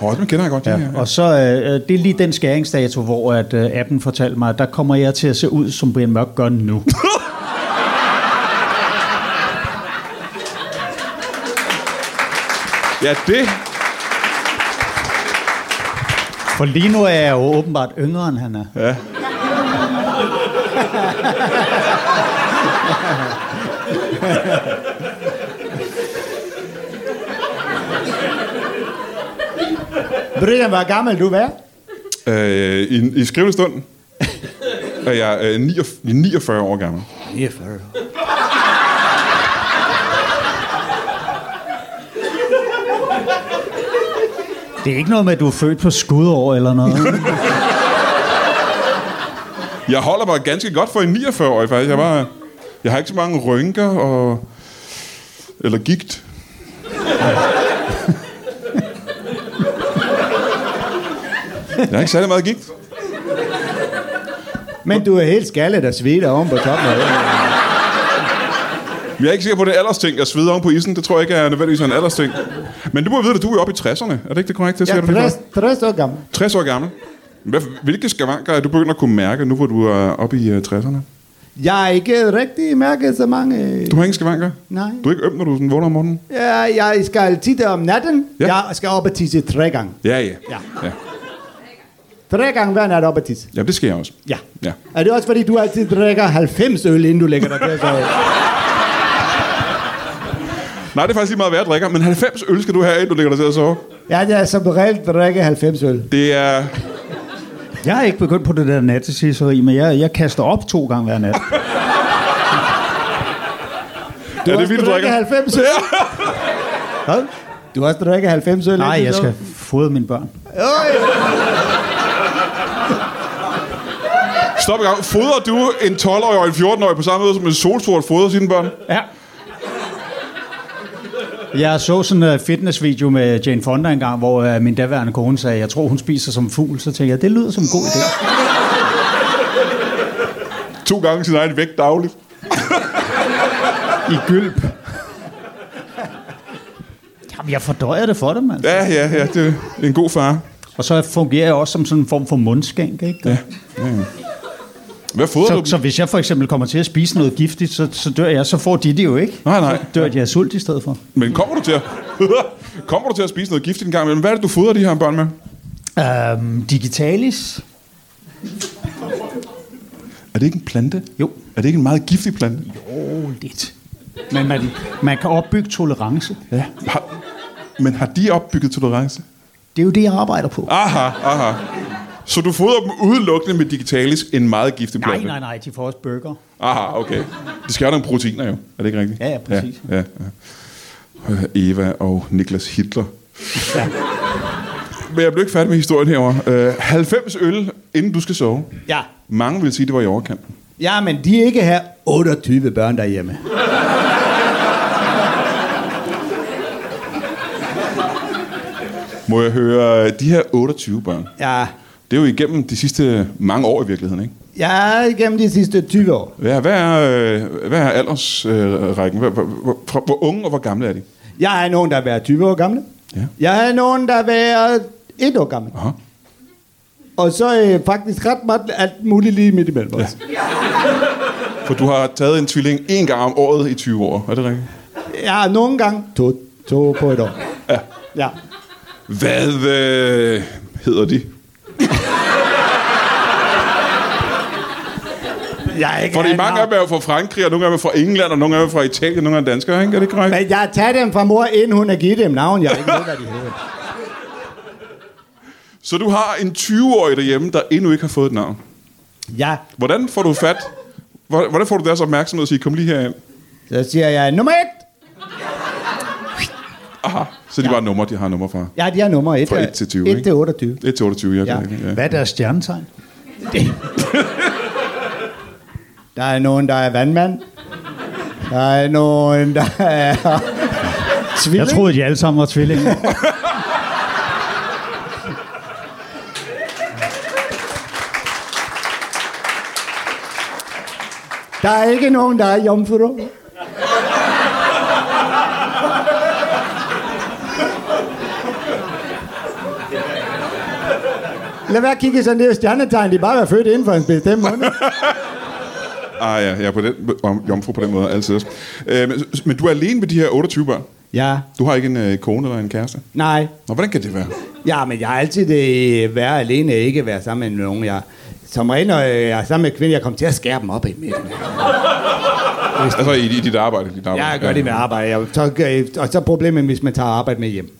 A: Åh, den kender jeg godt. Ja, ja.
C: Og så, øh, øh, det er lige den skæringsdato, hvor at, øh, appen fortalte mig, at der kommer jeg til at se ud, som Brian Mørk gør nu.
A: ja, det...
C: For lige nu er jeg jo åbenbart yngre, end han er.
A: Ja.
B: Brian, hvor gammel du er?
A: Øh, I, i skrivende stund er jeg øh, 49, 49 år gammel.
B: 49.
C: Det er ikke noget med, at du er født på skudår eller noget.
A: Jeg holder mig ganske godt for en 49-årig, faktisk. Jeg, var, jeg har ikke så mange rynker og... Eller gigt. Jeg har ikke særlig meget gigt.
B: Men du er helt skaldet og svedt oven på toppen. af øjnene.
A: Men Jeg er ikke sikker på, at det er aldersting. Jeg sveder oven på isen. Det tror jeg ikke er nødvendigvis en aldersting. Men du må vide, at du er oppe i 60'erne. Er det ikke det korrekte? Det
B: Jeg
A: siger du lige
B: er
A: før.
B: 60 år gammel.
A: 60 år gammel. Hvad, hvilke skavanker er du begyndt at kunne mærke, nu hvor du er oppe i øh, 60'erne?
B: Jeg har ikke rigtig mærket så mange...
A: Du har ingen skavanker?
B: Nej.
A: Du er ikke øm, når du sådan vågner om morgenen?
B: Ja, jeg skal tit om natten.
A: Ja.
B: Ja. Jeg skal op og tisse tre gange.
A: Ja, ja.
B: Ja.
A: ja.
B: Tre gange hver nat op og tisse.
A: Jamen, det sker jeg også.
B: Ja.
A: Ja.
B: Er det også fordi, du altid drikker 90 øl, inden du lægger dig til at sove?
A: Nej, det er faktisk lige meget, hvad jeg drikker, men 90 øl skal du have, inden du ligger dig til at sove.
B: Ja, jeg er som regel drikke 90 øl.
A: Det er...
C: Jeg er ikke begyndt på det der nattesisseri, men jeg, jeg kaster op to gange hver nat.
B: Du
A: er
B: også
A: det vildt, du drikker?
B: 90 øl.
C: Hvad?
B: Du har også drikket 90 øl.
C: Nej,
B: inden
C: jeg
B: du
C: skal
B: sov?
C: fodre mine børn.
B: Øj!
A: Stop i gang. Fodrer du en 12-årig og en 14-årig på samme måde, som en solsort fodrer sine børn?
C: Ja. Jeg så sådan en øh, fitnessvideo med Jane Fonda engang, hvor øh, min daværende kone sagde, jeg tror hun spiser som fugl. Så tænkte jeg, det lyder som en god idé.
A: To gange sin egen vægt dagligt.
C: I gylp. Jamen, jeg fordøjer det for dem, altså.
A: Ja, ja, ja. Det er en god far.
C: Og så fungerer jeg også som sådan en form for mundskænk, ikke? Ja.
A: Hvad fodrer
C: Så,
A: du?
C: så hvis jeg for eksempel kommer til at spise noget giftigt, så, så dør jeg, så får de det jo ikke.
A: Nej, nej.
C: Så dør de af sult i stedet for.
A: Men kommer du til at... kommer du til at spise noget giftigt en gang imellem? Hvad er det, du fodrer de her børn med?
C: Øhm, digitalis?
A: Er det ikke en plante?
C: Jo.
A: Er det ikke en meget giftig plante?
C: Åh, lidt. Men man, man kan opbygge tolerance.
A: Ja. Har... Men har de opbygget tolerance?
C: Det er jo det, jeg arbejder på.
A: Aha, aha. Så du fodrer dem udelukkende med digitalis, en meget giftig
C: Nej,
A: plante?
C: nej, nej, de får også burger.
A: Aha, okay. De skal have nogle proteiner jo, er det ikke rigtigt?
C: Ja, ja, præcis.
A: Ja, ja, ja. Øh, Eva og Niklas Hitler.
C: Ja.
A: Men jeg blev ikke færdig med historien herovre. Øh, 90 øl, inden du skal sove.
B: Ja.
A: Mange vil sige, det var i overkanten.
B: ja, men de er ikke her 28 børn derhjemme.
A: Må jeg høre, øh, de her 28 børn,
B: Ja,
A: det er jo igennem de sidste mange år i virkeligheden, ikke?
B: ja igennem de sidste 20 år.
A: Hvad, hvad, er, øh, hvad er aldersrækken? Hvor, hvor, hvor, fra- hvor unge og hvor gamle er de?
B: Jeg er nogen, der har været 20 år gamle.
A: Ja.
B: Jeg er nogen, der har været 1 år gamle.
A: Aha.
B: Og så øh, faktisk ret meget alt muligt lige midt imellem os.
A: For du har taget en tvilling en gang om året i 20 år, er det rigtigt?
B: Ja, ja nogle gange to, to på et år.
A: Ja.
B: Ja.
A: Hvad øh, hedder de?
B: Jeg er ikke
A: For det er
B: rigtig
A: mange af
B: navn.
A: dem er jo fra Frankrig, og nogle af dem er fra England, og nogle af dem er fra Italien, og nogle af dem er danskere, ikke? Er det korrekt?
B: Men jeg har taget dem fra mor, inden hun har givet dem navn. Jeg ikke ved, hvad de hedder.
A: Så du har en 20-årig derhjemme, der endnu ikke har fået et navn.
B: Ja.
A: Hvordan får du fat? Hvor- Hvordan får du deres opmærksomhed og sige, kom lige herind?
B: Så siger jeg, nummer et.
A: Aha, så de ja. bare nummer, de har nummer fra.
B: Ja, de er nummer et.
A: Fra et til tyve,
B: Et
A: ikke?
B: til 28.
A: 1 til 28, ja.
B: Ja.
A: Det, er rigtigt, ja.
C: Hvad er deres stjernetegn?
B: Der er nogen, der er vandmand. Der er nogen, der er... Tvilling?
C: Jeg troede, at de alle sammen var tvillinger.
B: Der er ikke nogen, der er jomfru. Lad være at kigge sådan der stjernetegn. De er bare været født inden for en bestemt måned.
A: Ah ja, jeg er på den, om- jomfru på den måde altid. Øh, men, men du er alene med de her 28 børn.
B: Ja.
A: Du har ikke en øh, kone eller en kæreste.
B: Nej.
A: Nå, hvordan kan det være?
B: Ja, men jeg har altid øh, været alene, ikke været sammen med nogen. Jeg, som regel, når jeg er sammen med kvinder, jeg kommer til at skære dem op i midten.
A: Altså i, i dit arbejde. Dit arbejde.
B: Jeg gør det med arbejde. Jeg, så, øh, og så er problemet, hvis man tager arbejde med hjem.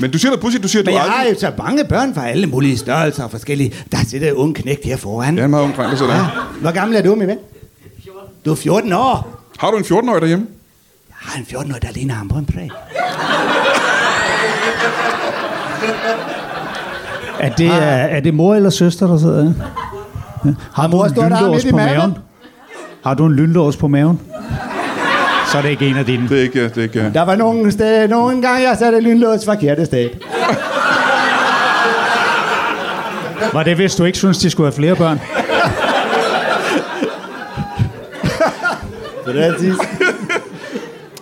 A: Men du siger noget pudsigt, du siger, at
B: Men
A: du
B: jeg har
A: aldrig...
B: jo så mange børn fra alle mulige størrelser og forskellige. Der sidder en ung knægt her foran.
A: Ja, han er en meget ung dreng, der sidder der.
B: Hvor gammel er du, min ven? 14. Du er 14 år?
A: Har du en 14-årig derhjemme?
B: Jeg har en 14-årig, der ligner ham på en præg.
C: Er det, er, er det mor eller søster, der sidder der? Ja. Har du
B: mor
C: en
B: står der
C: lynlås
B: midt i
C: på
B: maven.
C: maven? Har du en lynlås på maven? Så er det ikke en af dine.
A: Det er ikke... øh, Det er ikke øh.
B: Der var nogen, sted, nogen gange, jeg satte lynlås forkerte sted.
C: Var det, hvis du ikke synes, de skulle have flere børn?
B: Præcis.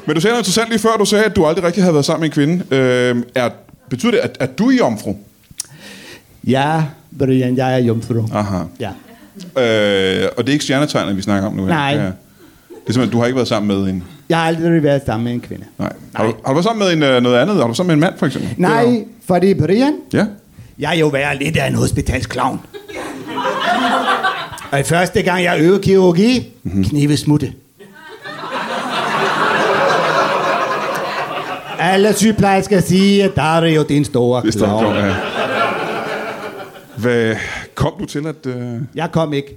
A: Men du sagde noget interessant lige før. Du sagde, at du aldrig rigtig havde været sammen med en kvinde. Øh, er, betyder det, at, at du er jomfru? Øh,
B: Ja, Brian, jeg er jomfru.
A: Aha.
B: Ja.
A: Øh, og det er ikke stjernetegnet, vi snakker om nu. her.
B: Nej.
A: Det er simpelthen, du har ikke været sammen med en...
B: Jeg har aldrig været sammen med en kvinde.
A: Nej. Har, du, har du været sammen med en, øh, noget andet? Har du været sammen med en mand, for eksempel?
B: Nej, fordi Brian,
A: Ja.
B: jeg er jo været lidt af en hospitalsklovn. Og i første gang, jeg øvede kirurgi, knive smutte. Alle sygeplejersker siger, at der er jo din store
A: Det står
B: klovn.
A: der. Ja. Hvad kom du til at... Øh...
B: Jeg kom ikke.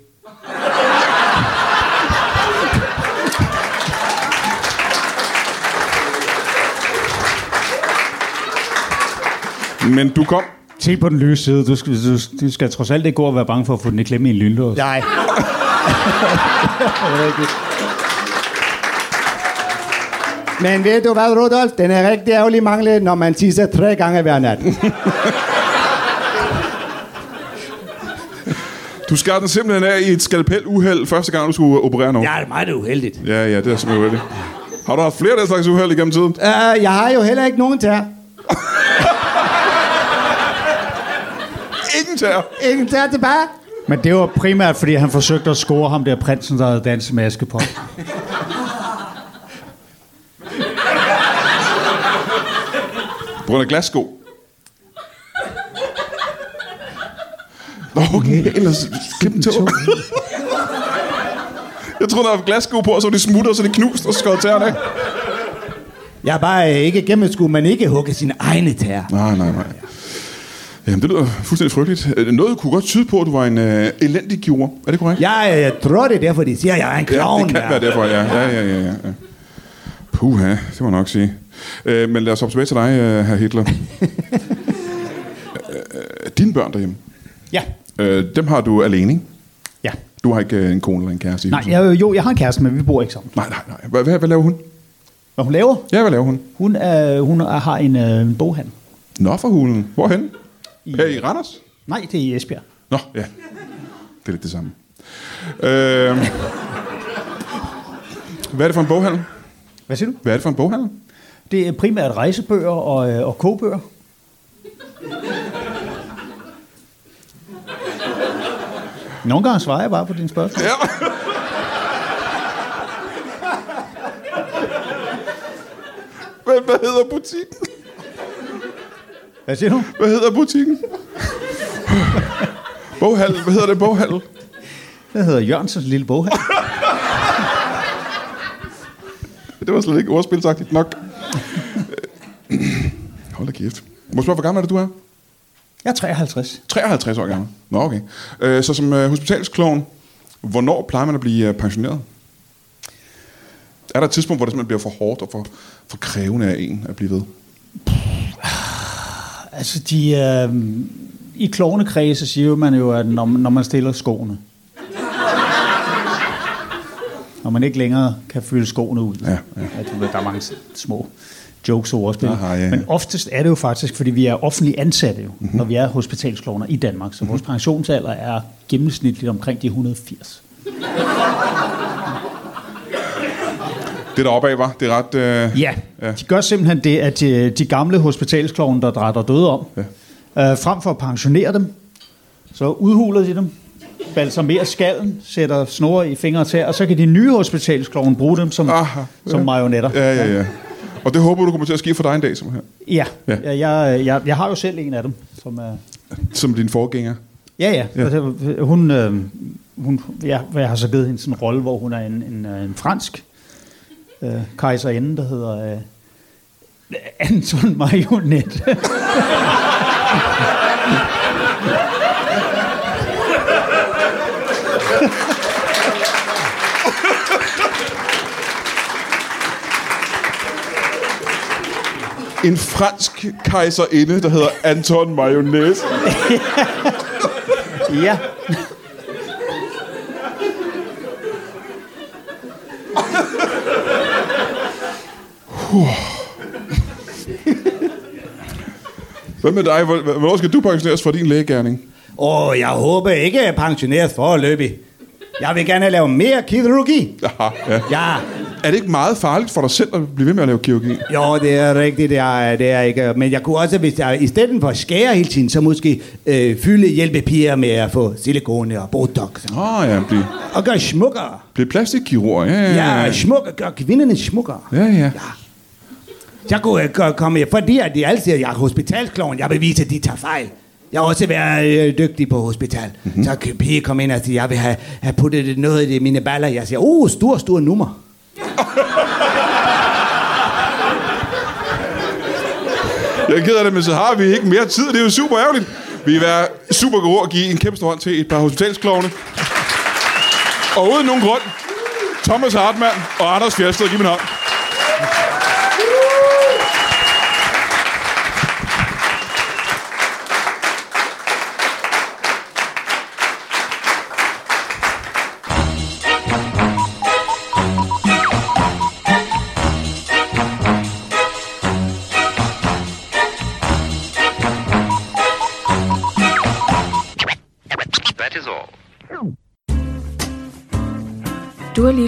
A: Men du kom...
C: Se på den lyse side. Du skal, du, du skal trods alt ikke gå og være bange for at få den i klemme i en lynlås.
B: Nej. Men ved du hvad, Rudolf? Den er rigtig ærgerlig manglet, når man tisser tre gange hver nat.
A: Du skar den simpelthen af i et skalpeluheld første gang, du skulle operere nogen.
B: det er meget uheldigt.
A: ja, ja det er simpelthen det. Har du haft flere af den slags uheld igennem tiden?
B: Uh, jeg har jo heller ikke nogen tær.
A: Ingen tager.
B: Ingen tær tilbage.
C: Men det var primært, fordi han forsøgte at score ham der prinsen, der havde danset maske på.
A: På grund af glassko. Nå, okay, ellers klip en tog. Jeg troede, der var glassko på, og så var det smuttet, og så var det knust, og så skød tæerne af.
B: Jeg er bare øh, ikke gennemskuet, man ikke hugger sine egne tær.
A: Nej, nej, nej. Jamen, det lyder fuldstændig frygteligt. Øh, Noget kunne godt tyde på, at du var en øh, elendig kirurg. Er det korrekt?
B: Jeg, øh, jeg tror, det er derfor, de siger, at jeg er en klovn.
A: det kan
B: mand.
A: være derfor, ja. Ja, ja, ja, ja. ja. Puha, det må jeg nok sige. Øh, men lad os hoppe tilbage til dig, øh, herr Hitler. øh, dine børn derhjemme,
C: Ja.
A: øh, dem har du alene, ikke?
C: Ja.
A: Du har ikke øh, en kone eller en kæreste i
C: Nej,
A: huset?
C: jeg, jo, jeg har en kæreste, men vi bor ikke sammen.
A: nej, nej. nej. Hvad, hvad, hvad laver hun?
C: Hvad hun laver?
A: Ja, hvad laver hun?
C: Hun, er, hun er, har en, øh, en boghandel.
A: Nå, for hulen. Hvorhen? Her i Randers?
C: Nej, det er i Esbjerg.
A: Nå, ja. Det er lidt det samme. Øh, hvad er det for en boghandel?
C: Hvad siger du?
A: Hvad er det for en boghandel?
C: Det er primært rejsebøger og, øh, og kogebøger. Nogle gange svarer jeg bare på dine spørgsmål.
A: Ja. Hvad, hvad hedder butikken?
C: Hvad siger du?
A: Hvad hedder butikken? Boghandel. Hvad hedder det boghandel?
C: Det hedder Jørgensens Lille Boghandel.
A: Det var slet ikke ordspilsagtigt nok. Hold da kæft. Må jeg spørge, hvor gammel er det, du er?
C: Jeg er 53.
A: 53 år gammel. Nå, okay. Øh, så som øh, hospitalskloven, hvornår plejer man at blive øh, pensioneret? Er der et tidspunkt, hvor det simpelthen bliver for hårdt og for, for krævende af en at blive ved?
C: Altså, de, øh, i klovnekredse siger man jo, at når, når man stiller skoene. når man ikke længere kan fylde skoene ud.
A: Ja, ja.
C: Og du ved, der er mange små jokes og ordspil.
A: Aha, ja, Mhm. ja.
C: Men oftest er det jo faktisk, fordi vi er offentligt ansatte jo, mm-hmm. når vi er hospitalsklovner i Danmark.
A: Mhm.
C: Så vores pensionsalder er gennemsnitligt omkring de 180.
A: Det der opad var, det er ret... Øh,
C: Ja, de gør simpelthen det, at de, de gamle hospitalsklovne, der drætter døde om, ja. øh, frem for at pensionere dem, så udhuler de dem, balsamerer skallen, sætter snore i fingre til, og så kan de nye hospitalsklovne bruge dem som,
A: Aha, ja.
C: som marionetter.
A: Ja, ja, ja. Og det håber du kommer til at ske for dig en dag, som, her.
C: Ja,
A: Ja.
C: ja. Jeg, jeg, jeg, jeg har jo selv en af dem, som er...
A: som din forgænger.
C: Ja, ja.
A: Ja.
C: Altså, Hun, øh, hun, ja, jeg har så givet hende sådan en rolle, hvor hun er en, en, øh, en fransk øh, kejserinde, der hedder øh, Anton Marionette.
A: En fransk kejserinde, der hedder Anton Mayonnaise.
C: ja.
A: Hvad med dig? Hvor- Hvornår skal du pensioneres fra din lægegærning?
B: Åh, jeg håber ikke, jeg er pensioneret foreløbig. Jeg vil gerne lave mere kirurgi.
A: Aha, ja.
B: Ja,
A: Er det ikke meget farligt for dig selv at blive ved med at lave kirurgi?
B: jo, det er rigtigt, det er, det er ikke. Men jeg kunne også, hvis jeg i stedet for at skære hele tiden, så måske øh, fylde hjælpepiger med at få silikone og botox.
A: Åh oh, ja, blive,
B: Og gøre smukkere.
A: blive plastikkirurg. Ja, ja, ja.
B: Ja, smukke, gør kvinderne smukkere.
A: Ja, ja.
B: Jeg kunne øh, gøre- komme, fordi at de altid siger, jeg er hospitalskloven, jeg vil vise, at de tager fejl. Jeg har også været øh, dygtig på hospital.
A: Mhm.
B: Mm-hmm. Så kan pige komme ind og sige, jeg vil have, have puttet lidt noget i mine baller. Jeg siger, oh, stor, stor nummer.
A: Jeg er ked af det, men så har vi ikke mere tid. Det er jo super ærgerligt. Vi vil være super gode at give en kæmpe stor hånd til et par hospitalsklovne. Og uden nogen grund, Thomas Hartmann og Anders Fjersted. Giv mig en hånd.
D: That is all.
E: Du har lige